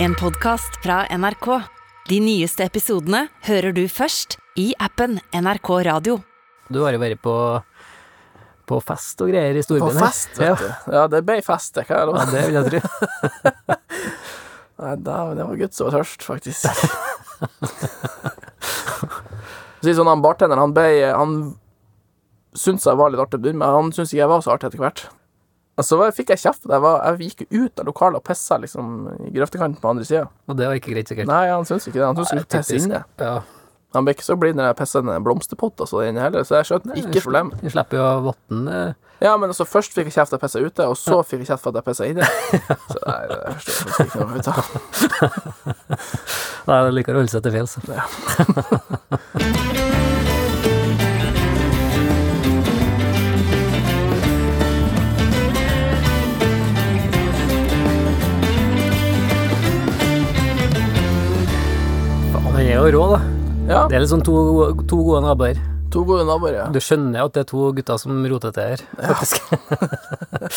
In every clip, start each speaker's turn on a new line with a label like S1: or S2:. S1: En podcast fra NRK. De nyeste episodene hører du først i appen NRK Radio.
S2: Du har jo vært på, på fest og greier i
S3: På
S2: storbyen. her.
S3: fest, vet
S2: Ja.
S3: du. Ja, det ble fest, det. Hva er
S2: Ja,
S3: det?
S2: det vil jeg tro.
S3: Nei, dæven, det var gutt som var tørst, faktisk. Si sånn, han bartenderen, han ble Han syntes jeg var litt artig å begynne med, han syntes ikke jeg var så artig etter hvert. Og så var- fikk jeg kjeft. Jeg, var, jeg gikk jo ut av lokalet og pissa liksom, i grøftekanten på andre sida.
S2: Og det var ikke greit, sikkert.
S3: Nei, han syntes ikke det. Han syntes vi
S2: Nei,
S3: skulle pisse
S2: typisk.
S3: inne.
S2: Ja.
S3: Han ble ikke så blid når jeg pissa en blomsterpott og så inne heller, så jeg skjønte ikke problemet.
S2: Vi slipper jo å eh. vatne
S3: Ja, men altså først fikk jeg kjeft at jeg pissa ute, og så fikk jeg kjeft for at jeg pissa inne. Så nei, det forstår jeg faktisk ikke noe ut av.
S2: Nei, det liker å holde seg til fjells. Faen, Han er jo rå, da.
S3: Ja,
S2: Det er litt sånn to, to gode naboer.
S3: to gode naboer, ja.
S2: Du skjønner jo at det er to gutter som roter til her, faktisk.
S3: Jeg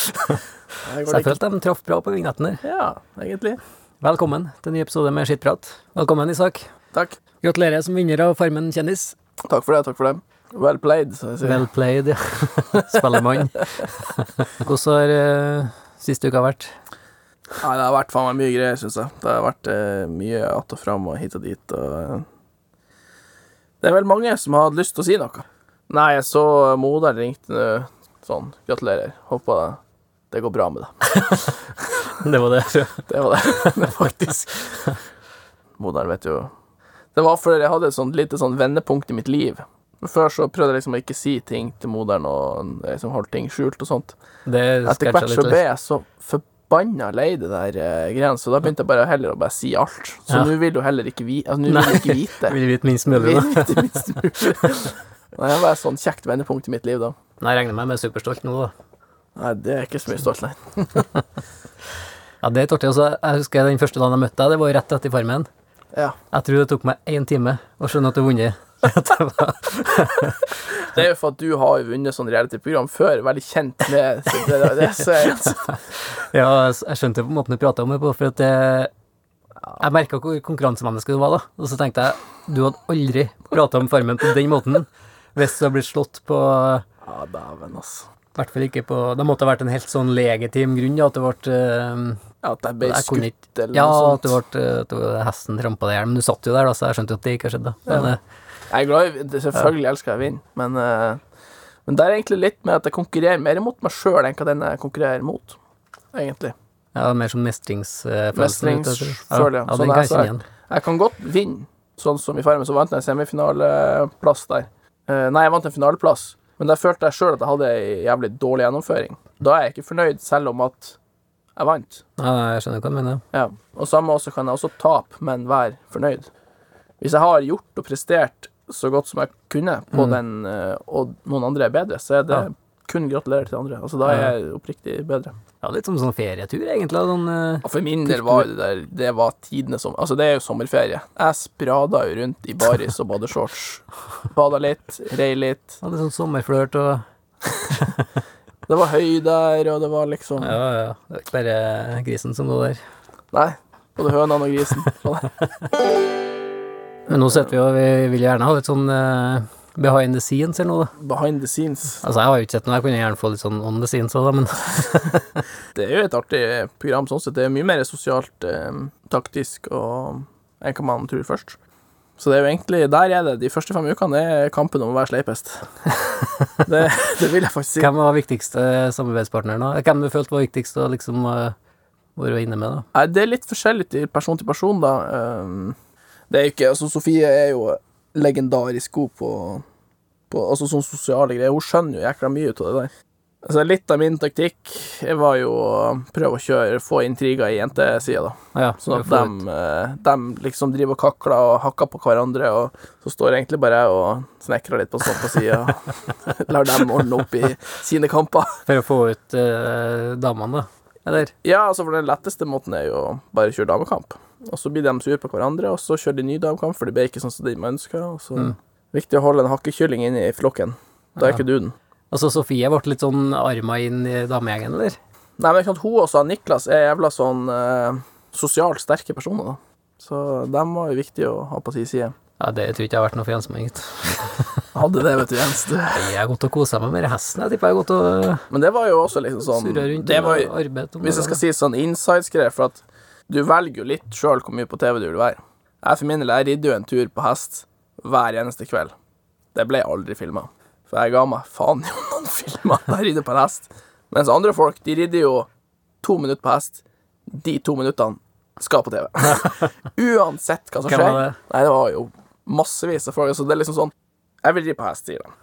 S2: Så jeg følte de traff bra på vignetten her.
S3: Ja, egentlig.
S2: Velkommen til en ny episode med Skittprat. Velkommen, Isak.
S3: Takk.
S2: Gratulerer som vinner av Farmen kjendis.
S3: Takk for det, takk for det. Well played, som jeg sier.
S2: Well played, ja. Spellemann. Hvordan har eh, siste uka vært?
S3: Nei, det har vært faen meg mye greier, syns jeg. Det har vært eh, mye att og fram og hit og dit, og eh, Det er vel mange som har hatt lyst til å si noe. Nei, jeg så moderen ringte nå sånn Gratulerer. Håper det, det går bra med deg.
S2: Det var det.
S3: Det var det, det er faktisk. Moderen vet jo Det var fordi jeg hadde et sånt lite sånn vendepunkt i mitt liv. Før så prøvde jeg liksom å ikke si ting til moderen og eh, liksom holdt ting skjult og sånt.
S2: Det
S3: Etter
S2: scratcha
S3: hvert så
S2: litt.
S3: ble jeg så forbanna lei det der eh, greiene, så da begynte jeg bare heller å bare si alt. Så
S2: Ja.
S3: nå vil du heller ikke, vi, altså, nå vil du ikke vite.
S2: Vil vite minst mulig, da.
S3: Vite minst mulig. Nei, Det var et sånt kjekt vendepunkt i mitt liv, da.
S2: Nei, jeg regner meg med superstolt nå, da.
S3: Nei, det er jeg ikke så mye stolt, nei.
S2: Ja, det er litt artig. Altså, jeg husker den første dagen jeg møtte deg, det var jo rett etter Farmen.
S3: Ja.
S2: Jeg tror det tok meg én time å skjønne at du har vunnet. At jeg var-
S3: Det er jo for at du har jo vunnet sånn reality-program før, veldig kjent med så det, det, det så jeg,
S2: Ja, jeg skjønte på en måte du prata om det på, for at det jeg merka hvor konkurransemenneske du var, da. Og så tenkte jeg du hadde aldri prata om Farmen på den måten hvis du hadde blitt slått på
S3: Ja, dæven, altså.
S2: I hvert fall ikke på Det måtte ha vært en helt sånn legitim grunn, ja, at det ble eh,
S3: Ja, At jeg ble
S2: Jeg kunne ikke-
S3: skutt, eller
S2: Ja,
S3: noe
S2: at det
S3: sånt.
S2: ble, at det var hesten trampa deg i hjel, men du satt jo der, da, så jeg skjønte jo at det ikke har skjedd, da. Men eh,
S3: Jeg er glad i det- Selvfølgelig elsker jeg å vinne, men, eh, men det er egentlig litt med at jeg konkurrerer mer mot meg sjøl enn hva den jeg konkurrerer mot, egentlig.
S2: ja, mer sånn mestringsfølelse.
S3: Mestringsfølelse, ja.
S2: ja,
S3: Sånn
S2: den kan
S3: jeg
S2: jeg kjenne
S3: sa.
S2: igjen.
S3: Jeg kan godt vinne, sånn som i Farmen, så vant jeg en semifinaleplass der. Eh, nei, jeg vant en finaleplass, men der følte jeg sjøl at jeg hadde ei jævlig dårlig gjennomføring. Da er jeg ikke fornøyd, selv om at jeg vant.
S2: Ja, jeg skjønner hva du mener.
S3: Ja. Og samme også kan jeg også tape, men være fornøyd. Hvis jeg har gjort og prestert så godt som jeg kunne på den, eh, og noen andre er bedre, så er det
S2: Ja.
S3: kun gratulerer til andre. Altså, da er
S2: Ja.
S3: jeg oppriktig bedre.
S2: Ja, litt som sånn ferietur, egentlig. da, Sånn, eh,
S3: Ja, for min del var jo det der Det var tidene som Altså, det er jo sommerferie. Jeg sprada jo rundt i baris og badeshorts. Bada litt, rei litt.
S2: ja, litt sånn sommerflørt og
S3: Det var høy der, og det var liksom
S2: Ja, ja. ja. Det var ikke bare grisen som lå der.
S3: Nei. Både hønene og grisen.
S2: Men nå sitter vi jo Vi vil gjerne ha litt sånn eh, behind the scenes eller noe, da.
S3: Behind the scenes.
S2: Altså, jeg har jo ikke sett noe, jeg kunne gjerne få litt sånn on the scenes òg, da, men
S3: Det er jo et artig program sånn sett. Det er mye mer sosialt eh, taktisk og enn hva man tror først. Så det er jo egentlig Der er det. De første fem ukene er kampen om å være sleipest. Det, det vil jeg faktisk si.
S2: hvem var viktigste samarbeidspartner nå? Hvem du følte var viktigst å liksom eh, være inne med, da?
S3: Nei, det er litt forskjellig til person til person, da. Ehm, Det er jo ikke Altså, Sofie er jo legendarisk god på, på Altså sånne sosiale greier. Hun skjønner jo jækla mye ut av det der. Altså, litt av min taktikk jeg var jo å prøve å kjøre få intriger i jentesida, da.
S2: Ah, ja, for å
S3: Sånn at
S2: få
S3: dem, eh, dem liksom driver og kakler og hakker på hverandre, og så står egentlig bare jeg og snekrer litt på sånn på sida. Lar dem ordne opp i sine kamper.
S2: ut- For å få ut eh, damene, da. Eller?
S3: Ja, altså for den letteste måten er jo å bare kjøre damekamp. Og så blir de sure på hverandre, og så kjører de ny damekamp, for det ble ikke sånn som de ønska. Og så Viktig å holde en hakkekylling inne i flokken. Da er ikke du den.
S2: Altså, Sofie ble litt sånn arma inn i damegjengen, eller?
S3: Nei, men ikke sant, hun også, Niklas, er jævla sånn eh, sosialt sterke personer, da. Så dem var jo viktig å ha på sin side.
S2: Ja, det tror jeg ikke har vært noe for Jens meg, gitt.
S3: Hadde det, vet du, Jens. Du.
S2: Jeg har gått og kosa meg med hesten. Jeg tipper jeg har gått og
S3: Men det var jo også liksom sånn
S2: surra rundt
S3: det var,
S2: og
S3: jo-
S2: arbeidet. om
S3: Hvis jeg skal si sånn insides-greier, for at du velger jo litt sjøl hvor mye på TV du vil være. Jeg for min del jeg ridde jo en tur på hest hver eneste kveld. Det ble aldri filma. For jeg ga meg faen i om noen filma at jeg ridder på en hest. Mens andre folk, de ridder jo to minutter på hest. De to minuttene skal på TV. Uansett hva som
S2: Hvem
S3: skjer.
S2: var det?
S3: Nei, det var jo massevis av folk. Så det er liksom sånn Jeg vil ri på hest, sier de.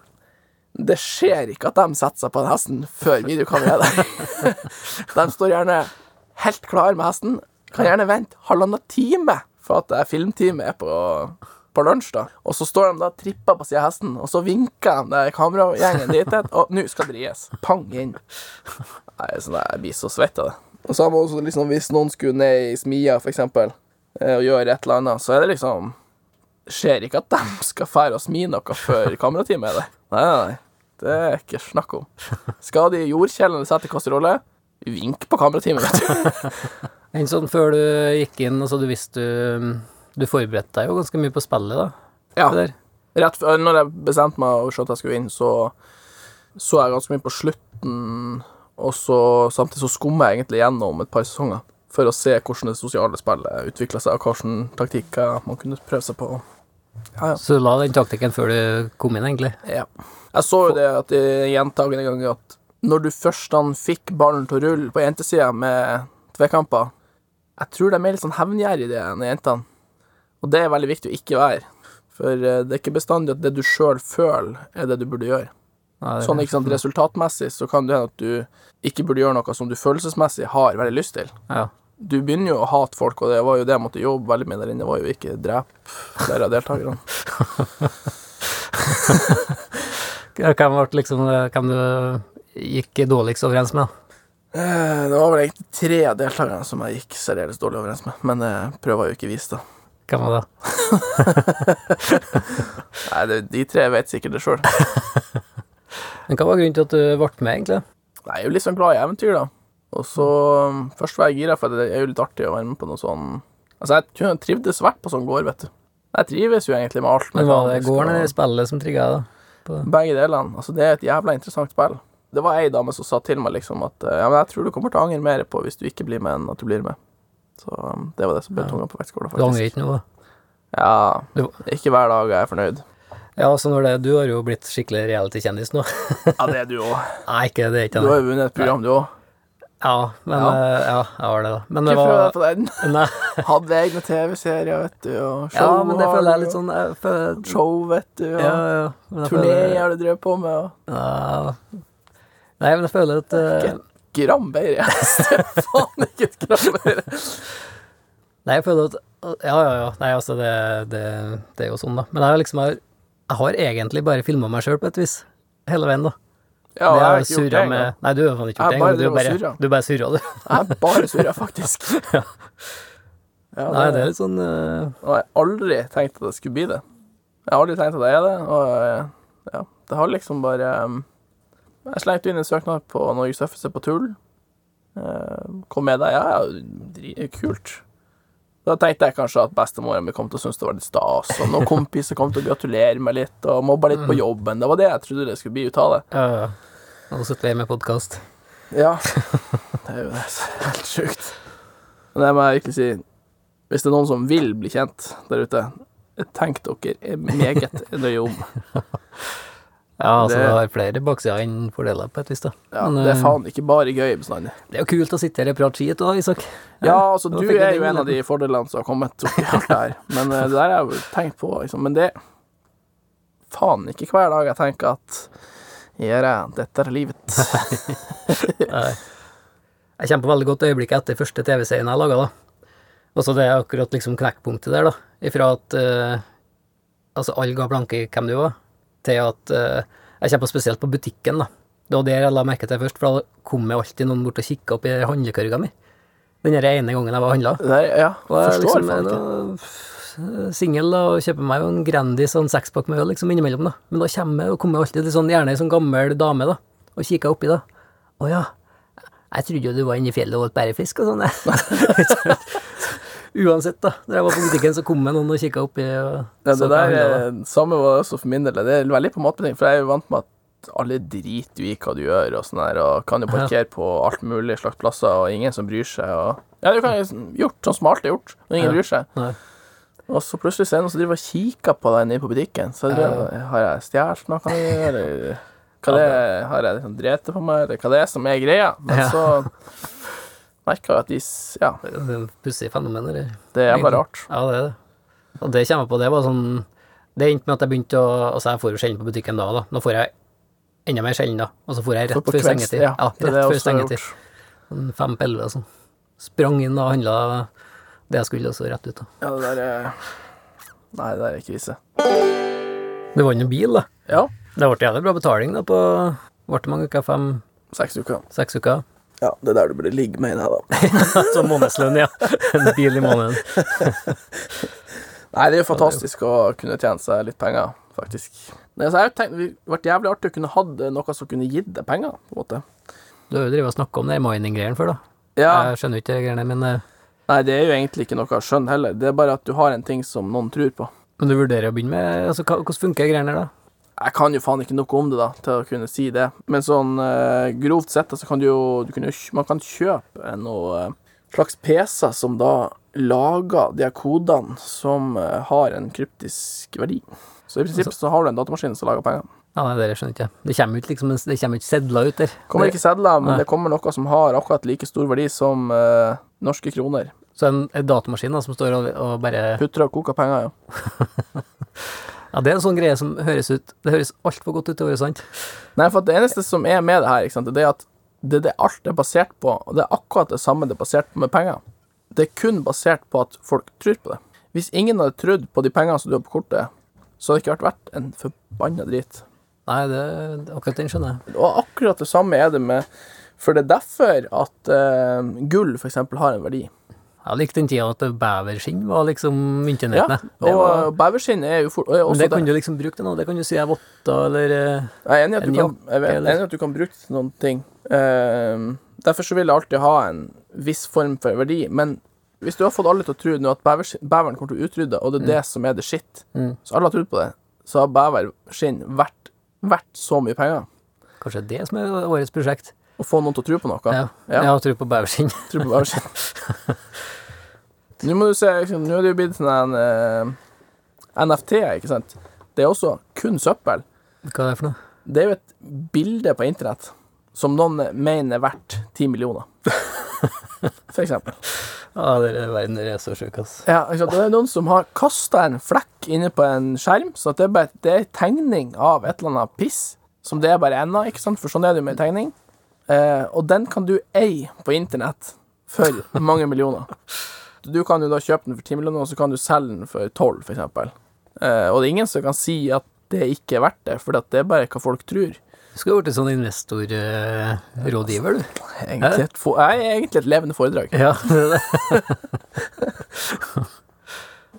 S3: Det skjer ikke at de setter seg på den hesten før videokameraet er der. De står gjerne helt klar med hesten. Kan gjerne vente halvannen time for at det er filmtime er på, på lunsj. da Og så står de da og tripper på siden av hesten, og så vinker de det kameragjengen dit. et, Og nå skal det ries. Pang inn. Nei, sånn, Jeg blir så svett av det. Og så har man også liksom, Hvis noen skulle ned i smia, for eksempel, eh, og gjøre et eller annet, så er det liksom Skjer ikke at de skal fære og smi noe før kameratime er der. Nei, nei, nei. Det er ikke snakk om. Skal de i jordkjelen sette kasserolle? Vink på kameratimen, vet du.
S2: Men sånn før du gikk inn, altså du visste du Du forberedte deg jo ganske mye på spillet, da.
S3: Ja.
S2: Det der.
S3: Rett før, når jeg bestemte meg og så at jeg skulle inn, så så jeg ganske mye på slutten, og så samtidig så skummer jeg egentlig gjennom et par sesonger for å se hvordan det sosiale spillet utvikla seg, og hvilke taktikker man kunne prøve seg på.
S2: Så du la den taktikken før du kom inn, egentlig.
S3: Ja. Jeg så jo det at eh, gjentagende ganger at når du først han fikk ballen til å rulle på jentesida med tvekamper Jeg tror de er mer litt sånn hevngjerrige enn jentene, og det er veldig viktig å ikke være. For eh, det er ikke bestandig at det du sjøl føler, er det du burde gjøre.
S2: Ja, det-
S3: Sånn, ikke sant, Resultatmessig så kan det hende at du ikke burde gjøre noe som du følelsesmessig har veldig lyst til.
S2: Ja.
S3: Du begynner jo å hate folk, og det var jo det jeg måtte jobbe veldig med der inne, var jo ikke drepe flere av deltakerne.
S2: Ja, Hvem ble liksom eh, Hvem du gikk dårligst overens med?
S3: Eh, Det var vel egentlig tre av deltakerne som jeg gikk særdeles dårlig overens med, men jeg prøver jo ikke å vise det.
S2: Hvem var det?
S3: Nei, det, de tre vet sikkert det sjøl.
S2: Men hva var grunnen til at du ble med, egentlig?
S3: Jeg er jo litt sånn glad i eventyr, da. Og så
S2: Mm.
S3: um, Først var jeg gira, for det er jo litt artig å være med på noe sånn Altså, jeg kunne trivdes svært på sånn gård, vet du. Jeg trives jo egentlig med alt.
S2: Men var det
S3: mekanisk
S2: gården
S3: og-
S2: eller spillet som trigga deg, da?
S3: Begge delene. Altså, det er et jævla interessant spill. Det var ei dame som sa til meg liksom at eh, ja, men jeg tror du kommer til å angre mer på hvis du ikke blir med, enn at du blir med. Så um, det var det som ble
S2: Ja.
S3: tunga på vektskåla,
S2: Du angrer
S3: faktisk.
S2: ikke nå, da?
S3: Ja,
S2: Du-
S3: ikke hver dag er jeg fornøyd.
S2: Ja, altså når det Du har jo blitt skikkelig reality-kjendis nå.
S3: Ja, det er du òg.
S2: Nei, ikke det. er
S3: Du
S2: ikke
S3: har
S2: det.
S3: jo vunnet et program, du òg.
S2: Ja, men
S3: Ja.
S2: eh, ja, jeg har det, da. Men det
S3: Ikke prøv deg
S2: var
S3: på den.
S2: Nei.
S3: Hadde egne TV-serier, vet du, og
S2: Ja,
S3: show.
S2: men det
S3: har
S2: føler jeg
S3: du,
S2: litt
S3: og
S2: sånn jeg føler,
S3: Show, vet du, og
S2: Ja, ja. men jeg føler-
S3: turné har du drevet på med, og
S2: Ja. Nei, men jeg føler at eh,
S3: Gram bedre hest. Faen, ikke et gram bedre.
S2: Nei, jeg føler at Ja, ja, ja. Nei, altså, det, det, det er jo sånn, da. Men jeg har liksom Jeg har egentlig bare filma meg sjøl, på et vis. Hele veien, da.
S3: Ja,
S2: det
S3: jeg har
S2: har
S3: ikke gjort det
S2: surra
S3: engang.
S2: med Nei, du har faen ikke gjort det
S3: Jeg bare
S2: engang. Du er
S3: drev og
S2: bare,
S3: surra.
S2: du er bare surra, du.
S3: Jeg er bare surra, faktisk.
S2: Ja.
S3: Ja,
S2: Nei, det er litt sånn eh,
S3: Og jeg har aldri tenkt at det skulle bli det. Jeg har aldri tenkt at jeg er det, og eh, ja, det har liksom bare eh, Jeg slengte inn en søknad på Norges tøffeste på tull. Eh, Kom med deg. Ja, ja, dri- kult. Da tenkte jeg kanskje at bestemora mi kom til å synes det var litt stas, og noen kompiser kom til å gratulere meg litt og mobba litt på
S2: Mm.
S3: jobben. Det var det jeg trodde det skulle bli ut av det.
S2: Ja, ja. Nå sitter vi med podkast.
S3: Ja. Det er jo det som er helt sjukt. Men det må jeg virkelig si. Hvis det er noen som vil bli kjent der ute, tenk dere meget nøye om.
S2: Ja, altså,
S3: Det-
S2: det, har flere baksider enn fordeler, på et vis, da.
S3: Ja,
S2: Men,
S3: det er
S2: eh,
S3: faen ikke bare gøy bestandig.
S2: Det er jo kult å sitte her og prate skit, da, Isak.
S3: Ja, altså,
S2: da
S3: du
S2: fikk jeg
S3: er
S2: den
S3: jo en av de fordelene som har kommet oppi alt det her, men eh, det der har jeg jo tenkt på, liksom. Men det Faen, ikke hver dag jeg tenker at Gjør jeg dette er livet?
S2: Nei. Jeg kommer på veldig godt øyeblikk etter første TV-serien jeg laga, da. Og så det er akkurat liksom knekkpunktet der, da. Ifra at eh, altså alle ga blanke i hvem du var, til at eh, jeg kommer på spesielt på butikken, da. Det var der jeg la merke til først, for da kom jeg alltid noen bort og kikka opp i handlekurga mi. Den her ene gangen jeg var og handla.
S3: Det der, ja,
S2: Og jeg
S3: forstår
S2: liksom
S3: faen
S2: er
S3: ikke.
S2: da singel da, og kjøper meg jo en Grandis og en sekspakk med øl liksom, innimellom. da. Men da kommer jeg og kommer alltid til sånn, gjerne ei sånn gammel dame da, og kikker oppi da. Å ja, jeg trodde jo du var inne i fjellet og åt bærefisk og sånn. jeg. Uansett, da. Da jeg var på butikken, så kom det noen og kikka oppi. Og
S3: Ja,
S2: så
S3: det
S2: hva jeg
S3: der
S2: handlet, da.
S3: er, samme var det også for min del. Det er veldig på matbutikk, for jeg er jo vant med at alle driter jo i hva du gjør, og sånn her, og kan jo parkere på alt mulig slags plasser, og ingen som bryr seg, og Ja, du kan jo sånn gjort sånn som alt er gjort, og ingen
S2: Ja.
S3: bryr seg.
S2: Nei.
S3: Og så plutselig ser jeg noen som driver og kikker på deg nede på butikken, så jeg tror, har jeg stjålet noe, eller hva det er, har jeg liksom drept på meg, eller hva det er som er greia, men
S2: Ja.
S3: så merker jeg at de s- Ja,
S2: Det er en Pussig fenomen, eller?
S3: det er bare rart.
S2: Ja, det er det. Og det kommer jeg på, det var sånn Det endte med at jeg begynte å Altså, jeg får jo sjelden på butikken da, da. Nå får jeg enda mer sjelden, da. Og så får jeg
S3: For
S2: rett
S3: på
S2: før
S3: kvelds-
S2: sengetid.
S3: ja,
S2: Ja,
S3: det er
S2: rett
S3: det jeg
S2: før
S3: også har
S2: sengetid. Sånn Fem på elleve og sånn. Sprang inn og handla det jeg skulle, og så rett ut, da.
S3: Ja, det der er Nei, det der er krise.
S2: Det var en bil, da.
S3: Ja.
S2: Det ble jævlig bra betaling, da, på Ble det mange uker? Fem-seks
S3: Seks uker.
S2: uker?
S3: Ja, det er der du burde ligge med, nei da.
S2: Så månedslønn, ja. En bil i måneden.
S3: Nei, det er jo fantastisk å kunne tjene seg litt penger, faktisk. Nei, så jeg tenkte, Det hadde vært jævlig artig å kunne hatt eh, noe som kunne gitt deg penger, på en måte.
S2: Du har jo drevet og snakka om de mining-greiene før, da.
S3: Ja,
S2: Jeg skjønner jo ikke de greiene, men, eh,
S3: Nei, det er jo egentlig ikke noe skjønn heller. Det er bare at du har en ting som noen tror på.
S2: men du vurderer å begynne med altså, hva- Hvordan funker de greiene der, da?
S3: Jeg kan jo faen ikke noe om det, da, til å kunne si det. Men sånn eh, grovt sett, da, så kan du jo du kan jo kj- Man kan kjøpe eh, noe eh, slags PC-er som da lager de her kodene som eh, har en kryptisk verdi. Så i prinsippet så har du en datamaskin som lager penger.
S2: Ja, nei, det skjønner ikke jeg. Det kommer jo ikke liksom, det kommer jo ikke sedler ut der.
S3: Kommer ikke sedler, men
S2: Nei.
S3: det kommer noe som har akkurat like stor verdi som eh, norske kroner.
S2: Så en, en datamaskin da, som står og, og bare
S3: Putter og koker penger, ja.
S2: Ja, det er en sånn greie som høres ut Det høres altfor godt ut til å være sant.
S3: Nei, for at det eneste som er med det her, ikke sant, det er at det, det alt er basert på, og det er akkurat det samme det er basert på med penger. Det er kun basert på at folk tror på det. Hvis ingen hadde trodd på de pengene som du har på kortet, så hadde det ikke vært verdt en forbanna drit.
S2: Nei, det, akkurat den skjønner jeg.
S3: Og akkurat det samme er det med For det er derfor at eh, gull for eksempel har en verdi.
S2: Jeg likte den tida at beverskinn var liksom
S3: Ja,
S2: myntenhetene.
S3: og beverskinn er jo fort, er
S2: Men
S3: også
S2: det
S3: det.
S2: kan du liksom bruke til noe. Det kan du si er votter eller eh,
S3: Jeg er enig i at,
S2: En
S3: du kan,
S2: jakke,
S3: jeg vet- jeg er
S2: eller?
S3: enig i at du kan bruke det til noen ting. Ehm, derfor så vil jeg alltid ha en viss form for verdi. Men hvis du har fått alle til å tro nå at bevers- beveren kommer til å utrydde, og det er det som er det shit,
S2: Mm.
S3: så alle har trodd på det, så har beverskinn vært, vært så mye penger.
S2: Kanskje det som er årets prosjekt.
S3: Å få noen til å tro på noe.
S2: Ja.
S3: Ja.
S2: Jeg har tro på beverskinn.
S3: Tro på beverskinn. nå må du se, liksom, nå er det jo blitt sånn en eh, NFT, ikke sant. Det er også kun søppel.
S2: Hva er det for noe?
S3: Det er jo et bilde på internett som noen mener er verdt 10 millioner. For eksempel.
S2: Ja, dere verden, dere er så sjuke, ass.
S3: Ja, ikke sant? det er noen som har kasta en flekk inne på en skjerm, så at det er bare det er en tegning av et eller annet piss, som det er bare enda, ikke sant? For sånn er det jo med tegning. Eh, og den kan du eie på internett for mange millioner. Du kan jo da kjøpe den for 10 millioner, og så kan du selge den for 12, for eksempel. Eh, og det er ingen som kan si at det ikke er verdt det, for det er bare hva folk tror.
S2: Du skulle ha blitt sånn investorrådgiver, du.
S3: Egentlig et, fo- jeg er egentlig et levende foredrag.
S2: Ja, det er det.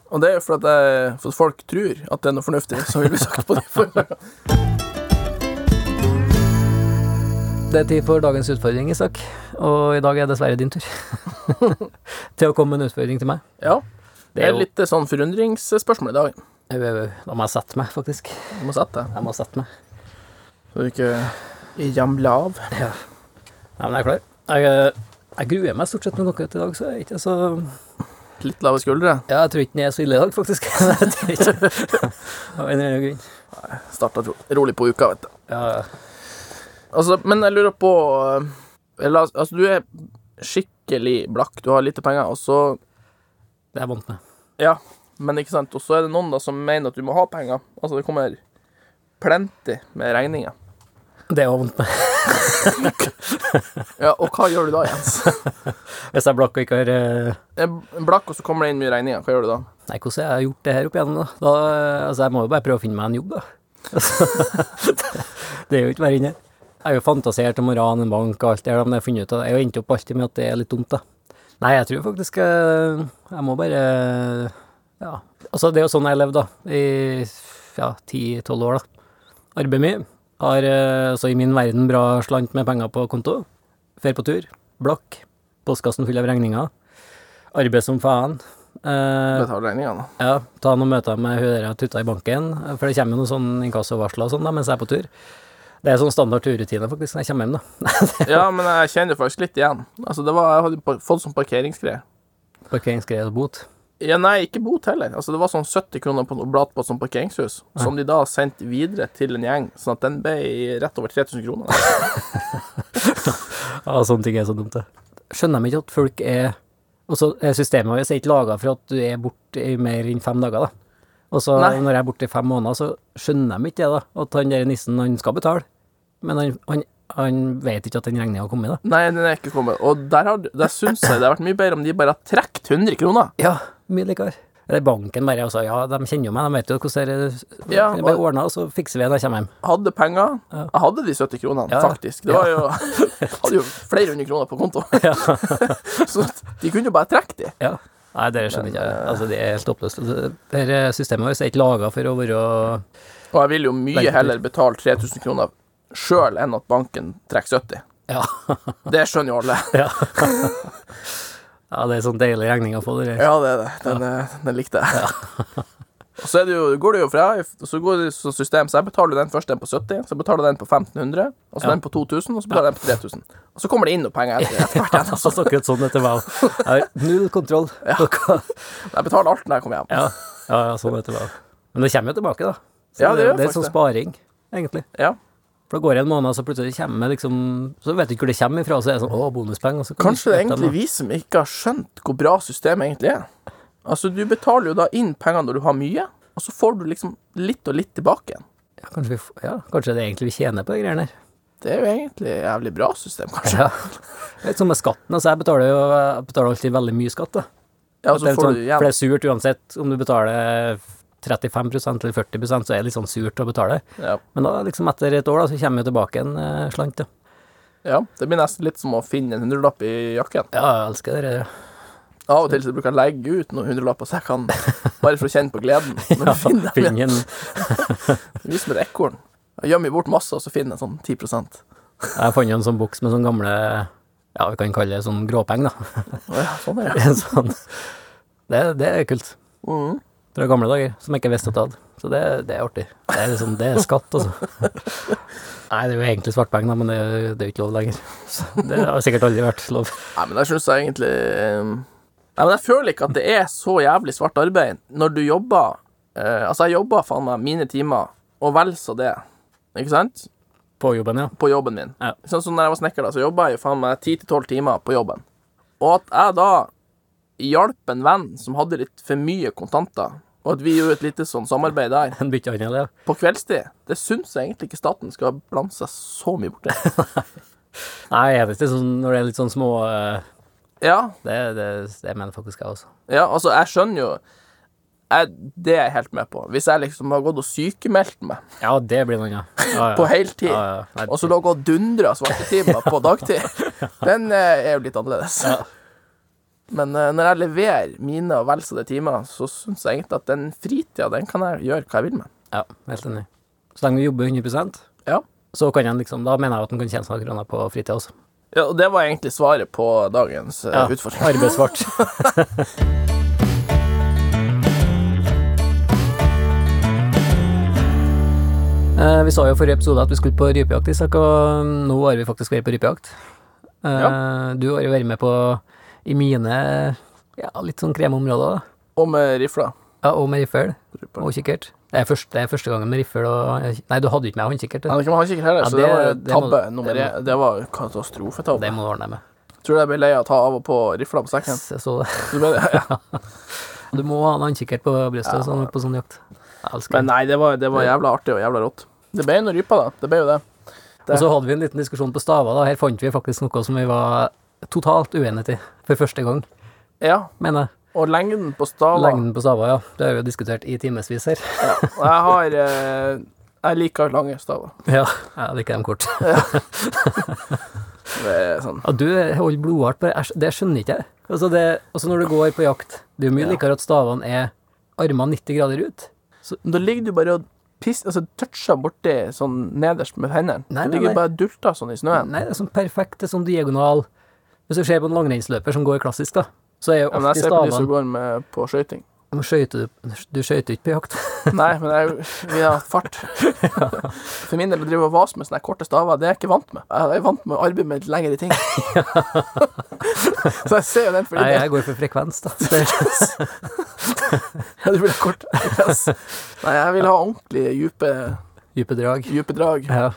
S3: Og det er jo for at, jeg, for at folk tror at det er noe fornuftig som vil bli sagt på de forlagene.
S2: Det er tid for dagens utfordring, Isak. Og i dag er dessverre din tur. til å komme med en utfordring til meg.
S3: Ja. Det
S2: er
S3: er
S2: jo-
S3: litt sånn forundringsspørsmål i dag.
S2: Au, au, au. Da må jeg sette meg, faktisk.
S3: Du må sette deg.
S2: Jeg må sette meg.
S3: Så du ikke ramler av.
S2: Nei, men jeg er klar. Jeg, eh, jeg gruer meg stort sett med noe til i dag, så jeg er ikke så
S3: Litt lave skuldre.
S2: Ja, jeg tror ikke den er så ille i dag, faktisk. jeg tror ikke. Av en eller annen grunn.
S3: Starta ro- rolig på uka, vet du.
S2: Ja,
S3: Altså, men jeg lurer på eh, la oss- Altså, du er skikkelig blakk. Du har lite penger, og så
S2: det er jeg vant med.
S3: Ja, men ikke sant. Og så er det noen da som mener at du må ha penger. Altså, det kommer plenty med regninger.
S2: Det er jeg vant med.
S3: Ja, og hva gjør du da, Jens?
S2: Hvis jeg er blakk og ikke har eh,
S3: En blakk, og så kommer det inn mye regninger. Hva gjør du da?
S2: Nei, hvordan har jeg gjort det her opp igjennom, da? da altså, jeg må jo bare prøve å finne meg en jobb, da. det er jo ikke verre enn det. Jeg har jo fantasert om å rane en bank og alt det der, men jeg har funnet ut av Jeg har endt opp alltid med at det er litt dumt, da. Nei, jeg tror faktisk eh, jeg må bare Ja. Altså, det er jo sånn jeg har levd, da, i ja, 10-12 år, da. Arbeidet mitt har eh, altså i min verden bra slant med penger på konto. Fer på tur. Blakk. Postkassen full av regninger. Arbeid som faen. Eh,
S3: Betal regningene.
S2: ja, ta noen møter med hun der jeg har tutta i banken, for det kommer jo noen sånn inkassovarsler og sånn da, mens jeg er på tur. Det er sånn standard turrutine faktisk når jeg kommer hjem, da.
S3: Ja, men jeg kjenner det faktisk litt igjen. Altså, det var, jeg hadde par- fått sånn parkeringsgreie.
S2: Parkeringsgreier og bot.
S3: Ja, nei, ikke bot heller. Altså, det var sånn 70 kroner på noe blad på et sånt parkeringshus, som de da sendte videre til en gjeng, sånn at den ble rett over 3000 kroner.
S2: Ja, sånne ting er så dumt, det. Skjønner de ikke at folk er Også er systemet vårt er ikke laga for at du er borte i mer enn fem dager, da. Og så
S3: Nei.
S2: når jeg er borte i fem måneder, så skjønner de ikke det, da. At han der nissen, han skal betale. Men han, han, han vet ikke at den regninga har kommet, da.
S3: Nei, den er ikke kommet. Og der, har, du- der syns jeg det har vært mye bedre om de bare har trukket 100 kroner.
S2: Ja, mye likere. Eller banken bare altså, ja, de kjenner jo meg, de vet jo hvordan det er
S3: Ja,
S2: Det blir
S3: og-
S2: ordna, og så fikser vi det når jeg kommer hjem.
S3: Hadde penger.
S2: Ja.
S3: Jeg hadde de 70 kronene,
S2: Ja.
S3: faktisk. Det var jo Hadde jo flere hundre kroner på konto. Så de kunne jo bare trekke de.
S2: Ja. Nei, det skjønner ikke
S3: Eh.
S2: jeg. Altså, det er helt håpløst. Det her eh, systemet vårt er ikke laga for å være
S3: Og jeg vil jo mye
S2: Veldig.
S3: heller betale 3000 kroner sjøl enn at banken trekker 70.
S2: Ja.
S3: Det skjønner jo alle.
S2: Ja. ja, det er sånn deilig regning å få, det der.
S3: Ja, det er det. Den, eh, den likte jeg. Og så er det jo, går det jo fra så går det så system, så jeg betaler den først den på 70, så betaler den på 1500, og så
S2: Ja.
S3: den på 2000, og så betaler den på 3000. Og så kommer det inn noe penger etter etter hvert. igjen,
S2: Altså,
S3: altså.
S2: akkurat sånn etter meg også. Jeg har null kontroll. på hva-
S3: Jeg betaler alt når jeg kommer hjem.
S2: Ja, ja, ja sånn etter meg også. Men det kommer jo tilbake, da. Så
S3: Ja, det gjør
S2: det er
S3: faktisk
S2: sånn
S3: det.
S2: sparing, egentlig.
S3: Ja.
S2: For det går en måned, så plutselig kommer liksom Så vet du ikke hvor det kommer ifra, og så er det sånn Å, bonuspenger. og Så kan du
S3: Kanskje det er
S2: slette dem,
S3: egentlig vi som ikke har skjønt hvor bra systemet egentlig er. Altså, du betaler jo da inn penger når du har mye, og så får du liksom litt og litt tilbake igjen.
S2: da. Ja, kanskje, vi, f- ja, kanskje det er egentlig vi tjener på de greiene der.
S3: Det er jo egentlig et jævlig bra system, kanskje.
S2: Ja. Det er Litt som med skatten. Altså, jeg betaler jo jeg betaler alltid veldig mye skatt, da. Det er litt
S3: Ja, og så Altså, får
S2: sånn,
S3: du
S2: for
S3: igjen.
S2: det er surt uansett om du betaler 35 eller 40 så er det litt sånn surt å betale.
S3: Ja.
S2: Men da, liksom etter et år, da, så kommer jo tilbake en eh, slant, ja.
S3: ja, det blir nesten litt som å finne en hundrelapp i jakken.
S2: Ja, jeg elsker det. ja.
S3: Av og til så bruker jeg legge ut noen hundrelapper så jeg kan Bare for å kjenne på gleden. Når du finner dem
S2: Finn en
S3: igjen. Vis meg et ekorn. Jeg gjemmer bort masse, og så finner jeg sånn 10
S2: Jeg fant jo en sånn boks med sånn gamle Ja, vi kan kalle det sånn gråpeng, da.
S3: Å ja, sånn er det.
S2: En sånn Det, det er kult. Mm.
S3: Mhm.
S2: Fra gamle dager, som jeg ikke visste at jeg hadde. Så det, det er artig. Det er liksom, det er skatt, altså. Nei, det er jo egentlig svartpenger, da, men det, er jo- det er jo ikke lov lenger. Så det har sikkert aldri vært lov.
S3: Nei, men jeg syns jeg egentlig um, Nei, men jeg føler ikke at det er så jævlig svart arbeid når du jobber eh, Altså, jeg jobber faen meg mine timer, og vel så det, ikke sant,
S2: På jobben, ja.
S3: på jobben min.
S2: Ja.
S3: Sånn som når jeg var snekker, da, så jobba jeg jo faen meg 10-12 timer på jobben. Og at jeg da hjalp en venn som hadde litt for mye kontanter, og at vi gjorde et lite sånn samarbeid der
S2: En byttehandel, ja.
S3: på kveldstid, det syns jeg egentlig ikke staten skal blande seg så mye borti.
S2: Nei, jeg vet ikke, sånn, når det er litt sånn små eh,
S3: Ja,
S2: Det, det, det mener faktisk jeg også.
S3: Ja, altså, jeg skjønner jo jeg, Det er jeg helt med på. Hvis jeg liksom har gått og sykemeldt meg
S2: Ja, det blir noe annet. Ja, ja.
S3: på heltid,
S2: Ja, ja. Nei,
S3: og så lå og dundra svartetimer på dagtid, den eh, er jo litt annerledes. Men eh, når jeg leverer mine og vel så det timer, så syns jeg egentlig at den fritida, den kan jeg gjøre hva jeg vil med.
S2: Ja, helt enig. Så lenge du jobber 100
S3: Ja.
S2: så kan en liksom, da mener jeg at en kan tjene seg noen kroner på fritida også.
S3: ja og det var egentlig svaret på dagens eh, utfordring.
S2: Arbeidsvart. Eh, Vi sa jo i forrige episode at vi skulle på rypejakt, Isak, og mm, nå har vi faktisk vært på rypejakt. Eh, Du har jo vært med på i mine ja, litt sånn kremområder, da.
S3: Og med eh, rifla.
S2: Ja, og med riffel
S3: Riffel.
S2: og kikkert. Det er første, det er første gangen med riffel og Nei, du hadde jo ikke med håndkikkert.
S3: Ja, det kan man ha kikkert
S2: Ja,
S3: heller, så
S2: det-
S3: det var jo
S2: det må-
S3: tabbe
S2: det
S3: nummer
S2: må-
S3: én. Det var katastrofetabbe.
S2: Det må du ordne deg med.
S3: Tror du jeg ble lei av å ta av og på rifla på sekken.
S2: Jeg så det.
S3: Så ble det, ja.
S2: Du må ha en håndkikkert på brystet sånn, på sånn jakt. Jeg elsker
S3: Men
S2: det.
S3: nei, det var, det var jævla artig og jævla rått. Det ble jo noen ryper, da. Det ble jo det.
S2: Og så hadde vi en liten diskusjon på staver. da. Her fant vi faktisk noe som vi var totalt uenige i for første gang,
S3: Ja.
S2: mener jeg.
S3: Og lengden på staver
S2: Lengden på staver, ja. Det har vi jo diskutert i timevis her.
S3: Ja. Og Jeg har eh, Jeg liker lange staver.
S2: Ja, jeg liker dem kort.
S3: Det er sånn.
S2: Ja, du holder blodart på det. Jeg skj- Det skjønner ikke jeg. Altså det, også når du går på jakt. Det er jo mye
S3: Ja.
S2: likere at stavene er armene 90 grader ut.
S3: Men Da ligger du bare og pisser Altså toucher borti sånn nederst med hendene.
S2: Nei,
S3: Du
S2: nei,
S3: ligger
S2: nei.
S3: bare og dulter sånn i snøen.
S2: Nei, det er sånn perfekt, det er sånn diagonal. Hvis du ser på en langrennsløper som går klassisk, da, Så er jo
S3: Ja, men
S2: alltid
S3: jeg ser på de som
S2: stavene
S3: går med på skøyting.
S2: Men skøyter du Du skøyter ikke på jakt?
S3: Nei, men jeg vil ha fart. For min del å drive og vase med sånne korte staver, det er jeg ikke vant med. Jeg er vant med å arbeide med litt lengre ting. Så jeg ser jo den for
S2: Nei,
S3: din del.
S2: jeg går for frekvens, da. Det,
S3: Ja, det blir kort. Yes. Nei, jeg vil ha ordentlig dype,
S2: dype drag.
S3: dype drag
S2: Ja,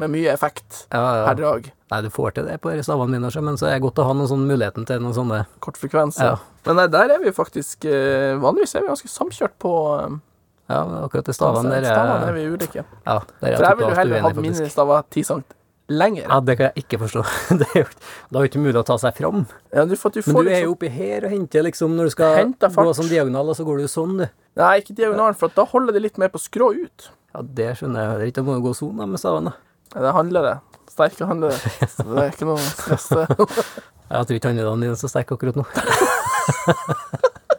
S3: med mye effekt
S2: ja,
S3: per
S2: ja.
S3: drag.
S2: Nei, du får til det på de stavene mine, også, men så er det godt å ha noen sånn muligheten til noen sånne
S3: Kort frekvens.
S2: Ja,
S3: Men nei, der er vi faktisk eh, Vanligvis er vi ganske samkjørt på eh,
S2: ja men akkurat de stavene der
S3: stavene Altså, er
S2: er
S3: vi ulike.
S2: Ja, der er
S3: For
S2: jeg
S3: jeg ville jo
S2: totalt
S3: heller
S2: uenig,
S3: hatt
S2: faktisk.
S3: mine staver 10 cm lenger.
S2: Ja, det kan jeg ikke forstå. Det er jo ikke- da er det ikke mulig å ta seg fram.
S3: Ja, du, for at du
S2: Men
S3: får
S2: du er
S3: liksom-
S2: jo oppi her og henter liksom når du skal
S3: Henter fart.
S2: gå sånn diagonal, og så går du sånn, du.
S3: Nei, ikke diagonalen, for at da holder det litt mer på skrå ut.
S2: Ja, det skjønner jeg. Det er ikke om å gå sånn da, med stavene.
S3: Ja, Det handler det. Sterke handler det. Så det er ikke noe stress. det.
S2: Jeg tror ikke handledene dine er så sterke akkurat nå.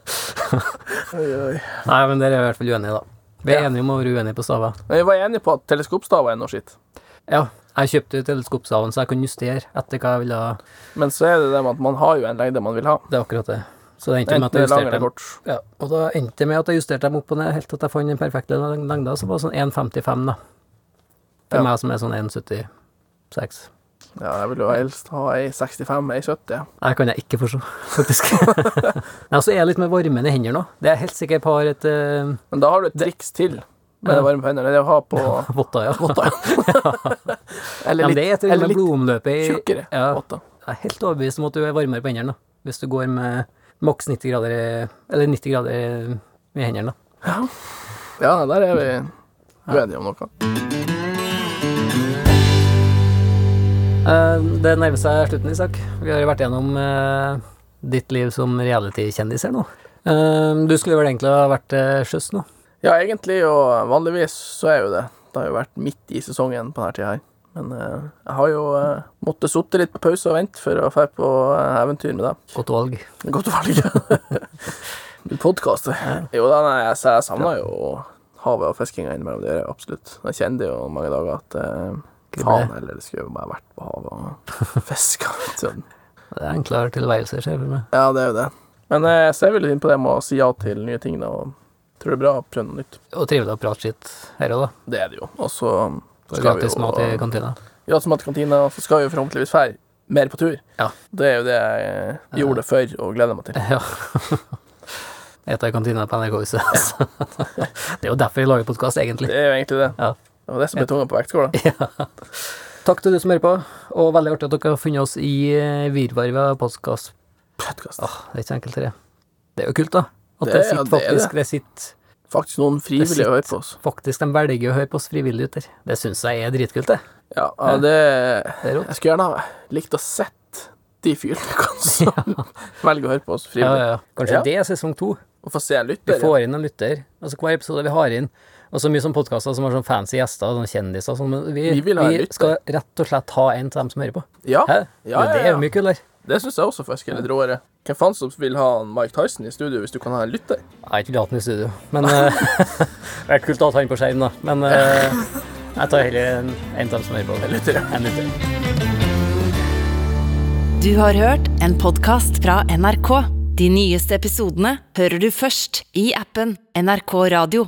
S3: Oi, oi.
S2: Nei, men dere er i hvert fall uenige, da. Vi er
S3: Ja.
S2: enige om å være uenige på staver.
S3: Men vi var enige på at teleskopstaver er noe skitt.
S2: Ja, jeg kjøpte jo teleskopstaven, så jeg kan justere etter hva jeg ville ha.
S3: Men så er det det med at man har jo en lengde man vil ha.
S2: Det er akkurat det. Så det endte med
S3: Enten
S2: at jeg
S3: det er lang
S2: justerte
S3: eller
S2: dem.
S3: kort.
S2: Ja, og da endte det med at jeg justerte dem opp og ned helt til at jeg fant den perfekte leng- lengda, som var sånn 1,55, da. For
S3: Ja.
S2: meg som er sånn 1,76.
S3: Ja, jeg vil jo helst ha ei 65, ei 70.
S2: Det kan jeg ikke forstå, faktisk. Nei, så er jeg litt med varmen i hendene nå. Det er jeg helt sikkert på har et uh,
S3: Men da har du et triks til med
S2: Ja.
S3: det varme på hendene. Det er å ha på
S2: votter, ja.
S3: votter.
S2: Ja,
S3: eller
S2: men det
S3: litt,
S2: er til og med
S3: eller litt
S2: blodomløpet i
S3: tjukkere
S2: Ja.
S3: votter.
S2: Jeg er helt overbevist om at du er varmere på hendene da, hvis du går med maks 90 grader i- Eller 90 grader i hendene, da.
S3: Ja, der er vi uenige om noe.
S2: Eh, Det nærmer seg slutten, Isak. Vi har jo vært gjennom eh, ditt liv som reality-kjendis her nå. Eh, Du skulle vel egentlig ha vært til sjøs nå?
S3: Ja, egentlig, og vanligvis så er jo det. Det har jo vært midt i sesongen på denne tida her. Men eh, jeg har jo eh, måttet sitte litt på pause og vente for å dra på eh, eventyr med deg.
S2: Godt valg.
S3: Godt valg. Du podkaster. Jo da, nei, jeg, jeg savna jo havet og fiskinga innimellom. Det gjør jeg jo absolutt. Jeg kjente jo mange dager at eh,
S2: Hva ble
S3: faen
S2: det?
S3: heller, det skulle jo bare vært på havet og fiska.
S2: Det er enklere tilværelse, ser jeg for meg.
S3: Ja, det er jo det. Men eh, jeg ser veldig inn på det med å si ja til nye ting, da. Og tror det er bra å prøve noe nytt.
S2: Og trivelig å prate skitt her òg, da.
S3: Det er det jo. Og så um,
S2: Får gratis mat i kantina.
S3: gratis mat i kantina, og så skal vi jo forhåpentligvis fære mer på tur.
S2: Ja.
S3: Det er jo det jeg eh, gjorde før og gleder meg til.
S2: Ja. Ete i kantina på NRK-huset. altså. Det er jo derfor vi lager podkast, egentlig.
S3: Det er jo egentlig det.
S2: Ja.
S3: Det var det som ble tunga på vektskåla.
S2: Takk til du som hører på, og veldig artig at dere har funnet oss i eh, virvaret av podkast.
S3: Podcast.
S2: Det er ikke så enkelt, det. Det er jo kult, da. At det,
S3: Det- ja,
S2: sitter
S3: det er
S2: faktisk det. sitter
S3: Faktisk noen frivillige hører på oss.
S2: faktisk De velger å høre på oss frivillig ut der. Det syns jeg er dritkult, det.
S3: Ja, ja, det
S2: Det er rått.
S3: Jeg skulle gjerne ha likt å sett de fyrene som velger å høre på oss
S2: Ja,
S3: frivillig.
S2: ja, ja. Kanskje
S3: Ja.
S2: det er sesong to.
S3: Og få se en
S2: Vi
S3: lytter. ja.
S2: får inn en lytter. Altså hver episode vi har inn. Og så mye sånn podkaster som har sånn fancy gjester og sånn kjendiser og sånn. Men vi,
S3: Vi vil ha en
S2: vi
S3: lytter.
S2: skal rett og slett ha en til dem som hører på.
S3: Ja,
S2: Hæ?
S3: ja,
S2: Men Det
S3: ja,
S2: er
S3: ja.
S2: jo mye kulere.
S3: det syns jeg også faktisk er litt råere. Hvem faen som vil ha en Mike Tyson i studio hvis du kan ha en lytter?
S2: Jeg har ikke hatt den i studio, men eh, Det hadde vært kult å ha han på skjerm, da. Men eh, jeg tar heller en, en til dem som hører på.
S3: En lytter, ja.
S2: En lytter.
S1: Du har hørt en podkast fra NRK. De nyeste episodene hører du først i appen NRK Radio.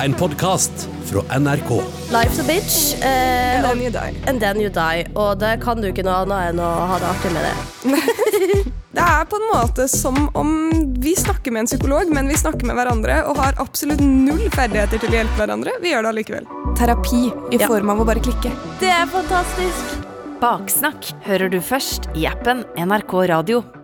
S4: En podkast fra NRK.
S5: Life's a bitch. eh,
S6: And then you die.
S5: and then you die. Og det kan du ikke noe annet enn å ha det artig med det.
S6: Det er på en måte som om vi snakker med en psykolog, men vi snakker med hverandre og har absolutt null ferdigheter til å hjelpe hverandre. Vi gjør det allikevel. Terapi i form av å bare klikke.
S5: Det er fantastisk.
S1: Baksnakk hører du først i appen NRK Radio.